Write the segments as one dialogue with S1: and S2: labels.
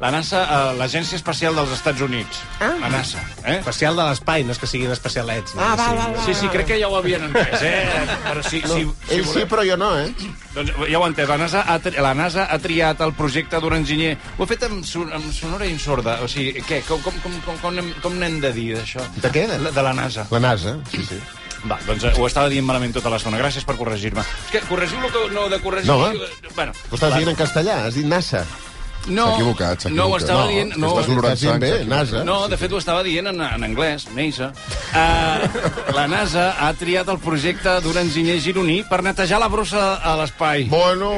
S1: la NASA, eh, l'Agència Espacial dels Estats Units.
S2: Ah.
S1: La NASA, eh?
S3: Especial de l'espai, no és que siguin especialets.
S2: Ah, va, va, va.
S1: Sí, sí, crec que ja ho havien entès, eh? Però si, si, si
S4: Ell sí,
S1: voleu...
S4: però jo no, eh?
S1: Doncs ja ho he entès, la NASA ha, tri- la NASA ha triat el projecte d'un enginyer... Ho ha fet amb, son amb sonora i amb sorda. O sigui, què? Com, com, com, com, com, n'hem- com n'hem de dir, d'això?
S4: De què?
S1: De, de la NASA.
S4: La NASA, sí, sí.
S1: Va, doncs eh, ho estava dient malament tota l'estona. Gràcies per corregir-me. És que corregiu lo que no de corregir...
S4: No, va.
S1: Bueno,
S4: Ho estàs dient en castellà, has dit NASA.
S1: no,
S5: S'ha equivocat, s'ha
S1: no ho
S5: equivocat.
S1: estava
S5: No,
S1: dient... No,
S5: estàs
S1: ho-
S5: dolorant.
S4: Estàs dient bé,
S5: Sánchez, sí.
S4: NASA.
S1: No, de fet ho estava dient en, en anglès, NASA. Uh, la NASA ha triat el projecte d'un enginyer gironí per netejar la brossa a l'espai.
S4: Bueno,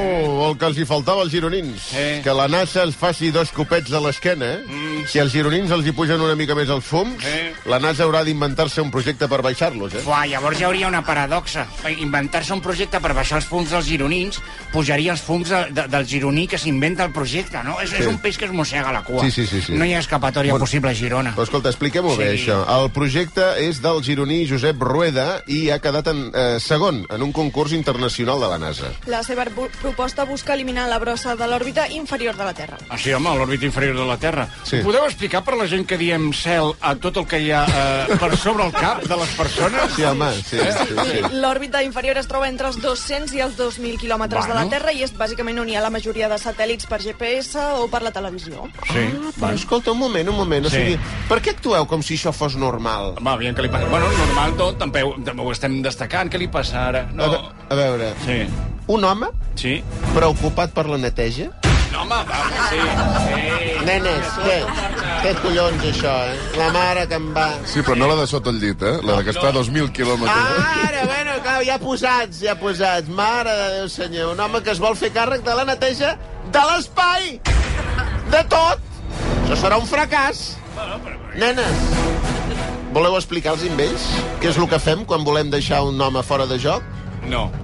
S4: el que els hi faltava als gironins.
S1: Eh.
S4: Que la NASA els faci dos copets a l'esquena. eh? Si als gironins els hi pugen una mica més els fums,
S1: Eh.
S4: la NASA haurà d'inventar-se un projecte per baixar-los, eh?
S6: Fuà, llavors hi hauria una paradoxa. Inventar-se un projecte per baixar els fums dels gironins pujaria els fums de, de, del gironí que s'inventa el projecte, no? És, sí. és un peix que es mossega la cua.
S4: Sí, sí, sí, sí.
S6: No hi ha escapatòria
S4: Bueno.
S6: bueno. possible a Girona.
S4: Però escolta, expliquem-ho sí. bé,
S6: Sí.
S4: això. El projecte és del gironí Josep Rueda i ha quedat en, eh, segon en un concurs internacional de la NASA.
S7: La seva bu- proposta busca eliminar la brossa de l'òrbita inferior de la Terra.
S1: Ah, sí, home, l'òrbita inferior de la Terra.
S4: Sí.
S1: Ho Podeu explicar per la gent que diem cel a tot el que hi ha eh, per sobre el cap de les persones?
S4: Sí, home, sí, sí, sí.
S7: L'òrbita inferior es troba entre els 200 i els 2.000 quilòmetres de la
S1: Bueno.
S7: Terra i és bàsicament on hi ha la majoria de satèl·lits per GPS o per la televisió.
S1: Sí.
S4: Però escolta, un moment, un moment. O
S1: Sí.
S4: sigui, per què actueu com si això fos normal?
S1: Va, aviam què li passa. Bueno, normal tot, també ho, també ho estem destacant. Què li passa ara?
S4: A,
S1: No.
S4: ve a veure,
S1: Sí.
S4: un home
S1: Sí.
S4: preocupat per la neteja?
S1: No, home, va, sí. sí.
S4: Nenes, què? Què collons, això, eh? La mare que em va...
S5: Sí, però no la de sota el llit, eh? La de que està a 2.000
S1: Ah!
S5: quilòmetres.
S4: Ara, bueno, clar, ja posats, ja posats. Mare de Déu, senyor, un home que es vol fer càrrec de la neteja de l'espai! De tot! Això serà un fracàs. Nenes, voleu explicar als vells què és el que fem quan volem deixar un home fora de joc?
S1: No.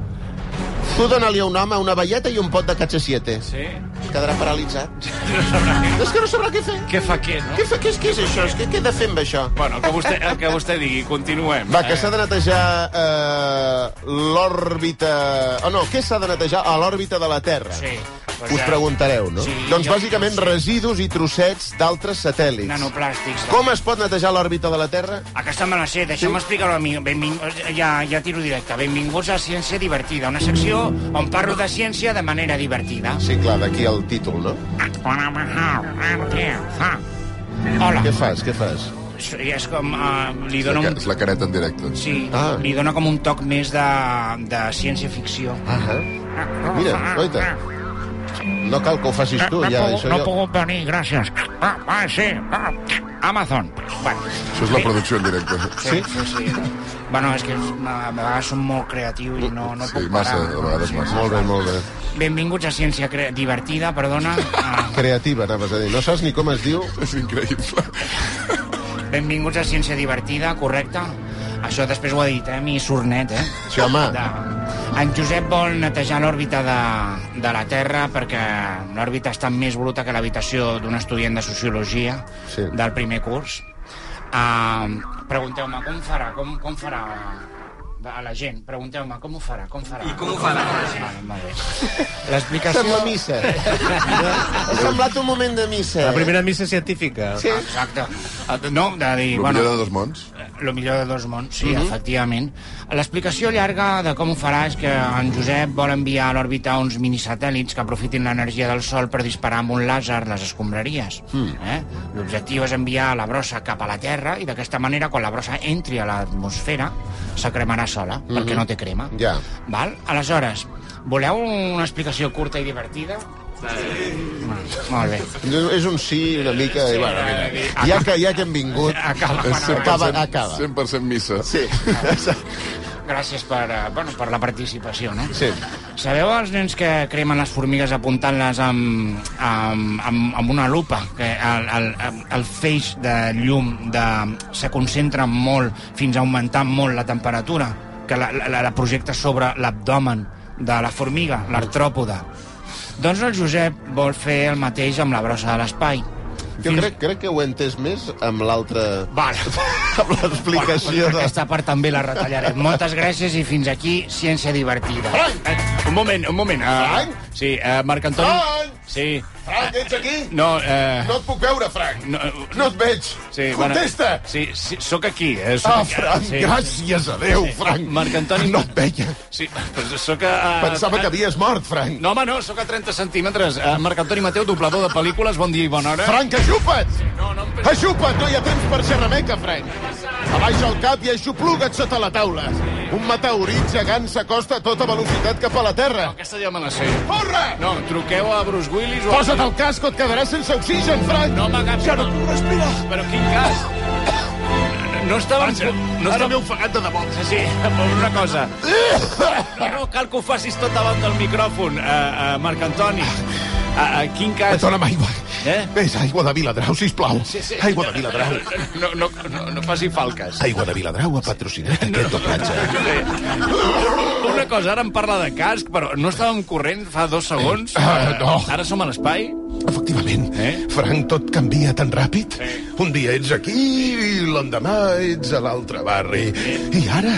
S4: Tu dona-li a un home una velleta i un pot de catxa 7.
S1: Sí.
S4: Quedarà paralitzat. És que no sabrà què fer.
S1: Què fa què, no?
S4: Què, fa, què, és, què és això? És que què he de fer amb això?
S1: Bueno, el que vostè, el que vostè digui, continuem.
S4: Va, que s'ha de netejar eh, l'òrbita... Oh, no, què s'ha de netejar? A l'òrbita de la Terra.
S6: Sí. Pues
S4: Us
S6: ja,
S4: preguntareu, no?
S6: Sí,
S4: doncs
S6: jo-
S4: bàsicament
S6: sí.
S4: residus i trossets d'altres satèl·lits.
S6: Nanoplàstics.
S4: Com es pot netejar l'òrbita de la Terra?
S6: Aquesta me la sé, deixa'm explicar-ho a mi. Benving... Ja, ja tiro directe. Benvinguts a Ciència Divertida, una secció on parlo de ciència de manera divertida.
S4: Sí, clar, d'aquí el títol, no?
S6: Hola.
S4: Què fas, què fas?
S6: És com... Uh, li
S5: És la,
S6: dono
S5: ca-
S6: un
S5: és la careta en directe.
S6: Sí,
S4: Ah.
S6: ah. li dona com un toc més de, de ciència-ficció.
S4: Ahà. Mira, oita. No cal que ho facis tu,
S6: Eh, no,
S4: ja,
S6: puc,
S4: això
S6: no
S4: jo...
S6: puc venir, gràcies. Ah, ah sí, ah, Amazon. Bueno,
S5: Això és la producció en directe.
S6: sí, sí, sí. Bueno, és que a a vegades som molt creatius i no, no
S5: Sí,
S6: puc
S5: massa,
S6: parar.
S5: a vegades massa.
S4: Molt bé, molt bé.
S6: Benvinguts a Ciència Cre Divertida, perdona. Ah,
S4: Creativa, anaves a dir. No saps ni com es diu?
S5: És increïble.
S6: benvinguts a Ciència Divertida, correcte? Això després ho ha dit, eh? Mi sornet, eh?
S4: Sí, home.
S6: De... En Josep vol netejar l'òrbita de, de la Terra perquè l'òrbita està més bruta que l'habitació d'un estudiant de Sociologia
S4: Sí.
S6: del primer curs. Uh, Pregunteu-me, com farà? Com, com farà a la gent? Pregunteu-me, com ho farà? Com farà? I com ho farà? Vale, molt bé.
S4: Sembla
S6: L'explicació...
S4: missa. Ha semblat un moment de missa. eh?
S3: La primera missa científica.
S4: Sí.
S6: Exacte. No, de dir...
S5: El
S6: bueno,
S5: millor de Mhm. dos mons.
S6: Lo millor de dos mons, sí, efectivament. L'explicació llarga de com ho farà és que en Josep vol enviar a l'òrbita uns minisatèl·lits que aprofitin l'energia del Sol per disparar amb un làser les escombraries.
S5: Hmm.
S6: Eh? L'objectiu és enviar la brossa cap a la Terra i d'aquesta manera, quan la brossa entri a l'atmosfera, se cremarà sola, perquè no té crema.
S4: Mhm. Ja.
S6: Val? Aleshores, voleu una explicació curta i divertida? Sí. Molt bé.
S4: És un sí, una mica... Sí, bueno, mira. Ja que, ja que hem vingut...
S6: Acaba.
S4: Acaba, acaba.
S5: 100% missa.
S4: Sí.
S6: Gràcies per, eh, bueno, per la participació, no?
S4: Sí.
S6: Sabeu els nens que cremen les formigues apuntant-les amb, amb, amb, amb una lupa? Que el, el, el- el feix de llum de, se concentra molt fins a augmentar molt la temperatura, que la, la, la projecta sobre l'abdomen de la formiga, l'artròpoda. Doncs el Josep vol fer el mateix amb la brossa de l'espai.
S5: Jo crec, crec que ho he entès més amb l'altra...
S6: Vale.
S5: amb l'explicació de...
S6: Aquesta part també la retallarem. Moltes gràcies i fins aquí, ciència divertida.
S1: Eh, un moment, un moment. Uh,
S4: Frank?
S1: sí, uh, Marc Antoni...
S4: Frank!
S1: Sí.
S4: Frank, ets aquí?
S1: No, eh...
S4: No et puc veure, Frank.
S1: No, eh,
S4: No et veig.
S1: sí,
S4: Contesta!
S1: Bueno, sí, sí, sóc aquí. Eh, sóc
S4: Ah,
S1: aquí,
S4: Frank,
S1: sí.
S4: gràcies a Déu, Frank.
S1: Marc Antoni- Ah,
S4: No et veia.
S1: Sí, però sóc a... a-
S4: Pensava que havies mort, Frank.
S1: No, home, no, sóc a 30 centímetres. Uh, Marc Antoni Mateu, doblador de pel·lícules, bon dia i bona hora.
S4: Frank, aixupa't!
S1: No, no em
S4: Aixupa't, no hi ha temps per xerrameca, Frank. Abaixa el cap i aixopluga't sota la taula. Un meteorit gegant s'acosta a tota velocitat cap a la Terra.
S1: Aquesta ja me la sé.
S4: Corre!
S1: No, truqueu a Bruce Willis o... a-
S4: Posa't el casc o et quedaràs sense oxigen, Frank!
S1: No, m'agafo.
S4: Ja no puc respirar!
S1: Però quin cas? No estava... No
S4: No Ara
S1: estava...
S4: m'he ofegat de debò.
S1: Sí, sí, per una cosa. No, no, cal que ho facis tot davant del micròfon, uh, uh, Marc Antoni. Uh, uh, quin cas...
S4: Dona'm aigua.
S1: Eh?
S4: Ves, aigua de Viladrau, sisplau.
S1: Sí, sí.
S4: Aigua de Viladrau.
S1: No, no, no, no faci falques. Eh,
S4: Aigua de Viladrau ha patrocinat aquest doblatge.
S1: Una cosa, ara em parla de casc, però no estàvem corrent fa dos segons?
S4: Eh, ah, no.
S1: Ara som a l'espai?
S4: Efectivament.
S1: Eh?
S4: Frank, tot canvia tan ràpid.
S1: Eh.
S4: Un dia ets aquí i l'endemà ets a l'altre barri. I ara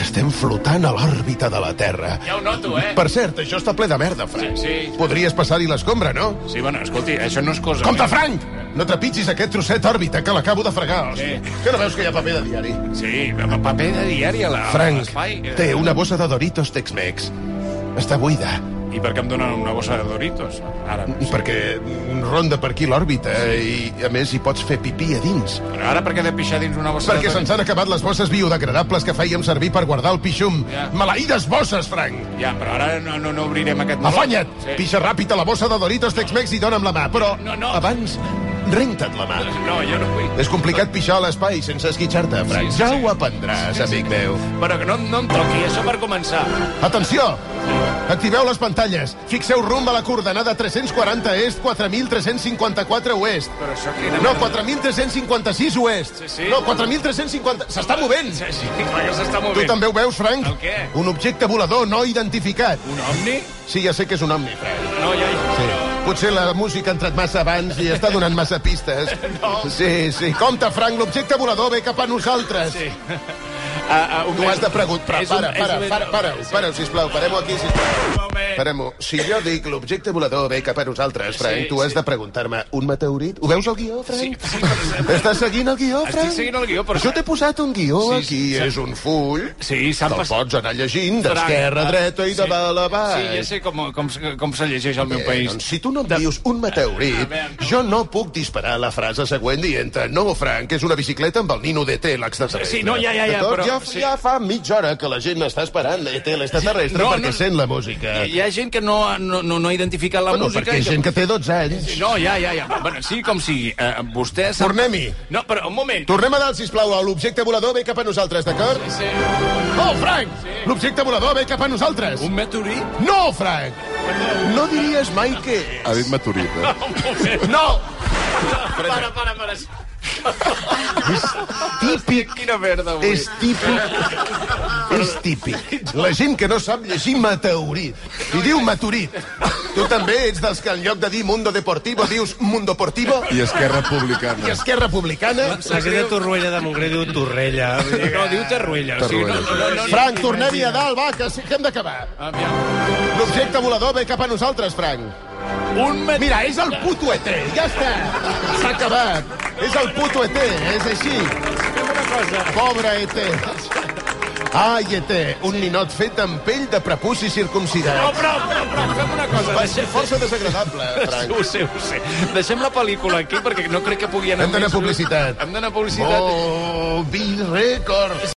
S4: estem flotant a l'òrbita de la Terra.
S1: Ja ho noto, eh?
S4: Per cert, això està ple de merda, Frank.
S1: Sí, sí.
S4: Podries passar-hi l'escombra, no?
S1: Sí, bueno, escolti, això no és cosa...
S4: Compte, Frank! No trepitgis aquest trosset òrbita que l'acabo de fregar.
S1: Sí.
S4: Que no veus que hi ha paper de diari?
S1: Sí, paper de diari a la- a
S4: Frank,
S1: l'espai. eh.
S4: té una bossa de Doritos Tex-Mex. Està buida,
S1: I per què em donen una bossa de Doritos? Ara,
S4: perquè ronda per aquí l'òrbita i, a més, hi pots fer pipí a dins.
S1: Però ara per què he de pixar dins una bossa
S4: Perquè
S1: de
S4: se'ns
S1: Doritos?
S4: han acabat les bosses biodegradables que fèiem servir per guardar el pixum.
S1: Ja.
S4: Maleïdes bosses, Frank!
S1: Ja, però ara no, no, no obrirem aquest... meló.
S4: Afanya't!
S1: Sí.
S4: Pixa ràpid a la bossa de Doritos Tex-Mex i dona'm la mà, però
S1: No, no.
S4: abans renta't la mà.
S1: No, jo no vull...
S4: És complicat pixar a l'espai sense esquitxar-te, Frank.
S1: Sí, sí,
S4: ja
S1: sí.
S4: ho aprendràs, amic meu.
S1: Però que no, no em toqui, això per començar.
S4: Atenció! Activeu les pantalles. Fixeu rumb a la coordenada 340 est, 4.354 oest.
S1: Però això quina...
S4: No, 4.356 oest.
S1: Sí, sí.
S4: No, 4.350... S'està movent!
S1: Sí, sí, clar que s'està movent.
S4: Tu també ho veus, Frank?
S1: El què?
S4: Un objecte volador no identificat.
S1: Un ovni?
S4: Sí, ja sé que és un omni, Frank.
S1: No, ja...
S4: Sí. Potser la música ha entrat massa abans i està donant massa pistes.
S1: No.
S4: Sí, sí. Compte, Frank, l'objecte volador ve cap a nosaltres.
S1: Sí. Ah, ah, un
S4: Tu has de
S1: És
S4: preguntar.
S1: un-
S4: Para,
S1: és
S4: para,
S1: un-
S4: para, para, para, sisplau. Parem-ho aquí, sisplau.
S1: Un moment.
S4: Parem-ho. Si jo dic l'objecte volador ve cap a nosaltres, Frank,
S1: Sí,
S4: tu has
S1: sí.
S4: de preguntar-me un meteorit? Ho veus el guió,
S1: Sí,
S4: Frank?
S1: sí, però...
S4: Estàs seguint el guió,
S1: Estic
S4: Frank?
S1: seguint el guió, però-
S4: Jo t'he posat un guió
S1: Sí,
S4: aquí.
S1: sí.
S4: És un full.
S1: Sí, s'han
S4: Te'l
S1: passat-
S4: pots anar llegint
S1: Frank,
S4: d'esquerra a
S1: ah,
S4: dreta i
S1: sí.
S4: de dalt a baix.
S1: Sí, ja sé com, com, com se llegeix al meu
S4: Ah, Eh,
S1: país.
S4: Doncs, si tu no em dius un
S1: A
S4: meteorit,
S1: veure, no.
S4: jo no puc disparar la frase següent dient no, Frank, és una bicicleta amb el Nino d'ET, l'extraterrestre.
S1: Sí, no, ja, ja, ja,
S4: D'acord?
S1: però-
S4: Ja,
S1: sí.
S4: ja fa mitja hora que la gent està esperant ET, l'extraterrestre,
S1: Sí, no,
S4: perquè
S1: no.
S4: sent la música.
S1: Hi ha gent que no, no, no, no ha identificat la
S4: bueno,
S1: música.
S4: perquè
S1: i
S4: hi ha gent que té 12 anys.
S1: No, ja, ja, ja. Bueno, sí, com sigui. Eh, vostè... sap-
S4: Tornem-hi.
S1: No, però un moment.
S4: Tornem a dalt, sisplau, l'objecte volador ve cap a nosaltres, d'acord?
S1: Sí.
S4: Oh, Frank! L'objecte volador ve cap a nosaltres!
S1: Un meteorit?
S4: No, Frank! No diries mai que...
S2: Ha dit maturit, eh?
S1: Un moment.
S4: No!
S1: Para, para, para.
S4: Típic
S1: Quina merda, avui.
S4: És típic. És típic. La gent que no sap llegir meteorit. I diu maturit. Tu també ets dels que en lloc de dir Mundo Deportivo dius Mundo Portivo
S2: I Esquerra Republicana.
S4: i Esquerra Republicana.
S3: La gent de Torroella de Montgrí diu Torrella. Vull dir
S1: No,
S3: que-
S1: diu Terruella. O sigui, no, no, no, no, no.
S4: Frank, tornem-hi a dalt, va, que sí que hem d'acabar.
S1: Aviam.
S4: L'objecte volador ve cap a nosaltres, Frank.
S1: Un meteorit.
S4: Mira, és el puto ET, ja està. S'ha acabat. És el puto ET, és així. Pobre ET. Ai, ET, un ninot fet amb pell de prepuci circumcidat.
S1: No, però, però, però, fem una cosa.
S4: Va ser
S1: Deixem,
S4: força desagradable, Frank.
S1: Ho sé, ho sé. Deixem la pel·lícula aquí perquè no crec que pugui anar...
S4: Hem d'anar
S1: més
S4: a publicitat. Oh,
S1: lluny. Hem d'anar a publicitat.
S4: Movie Records.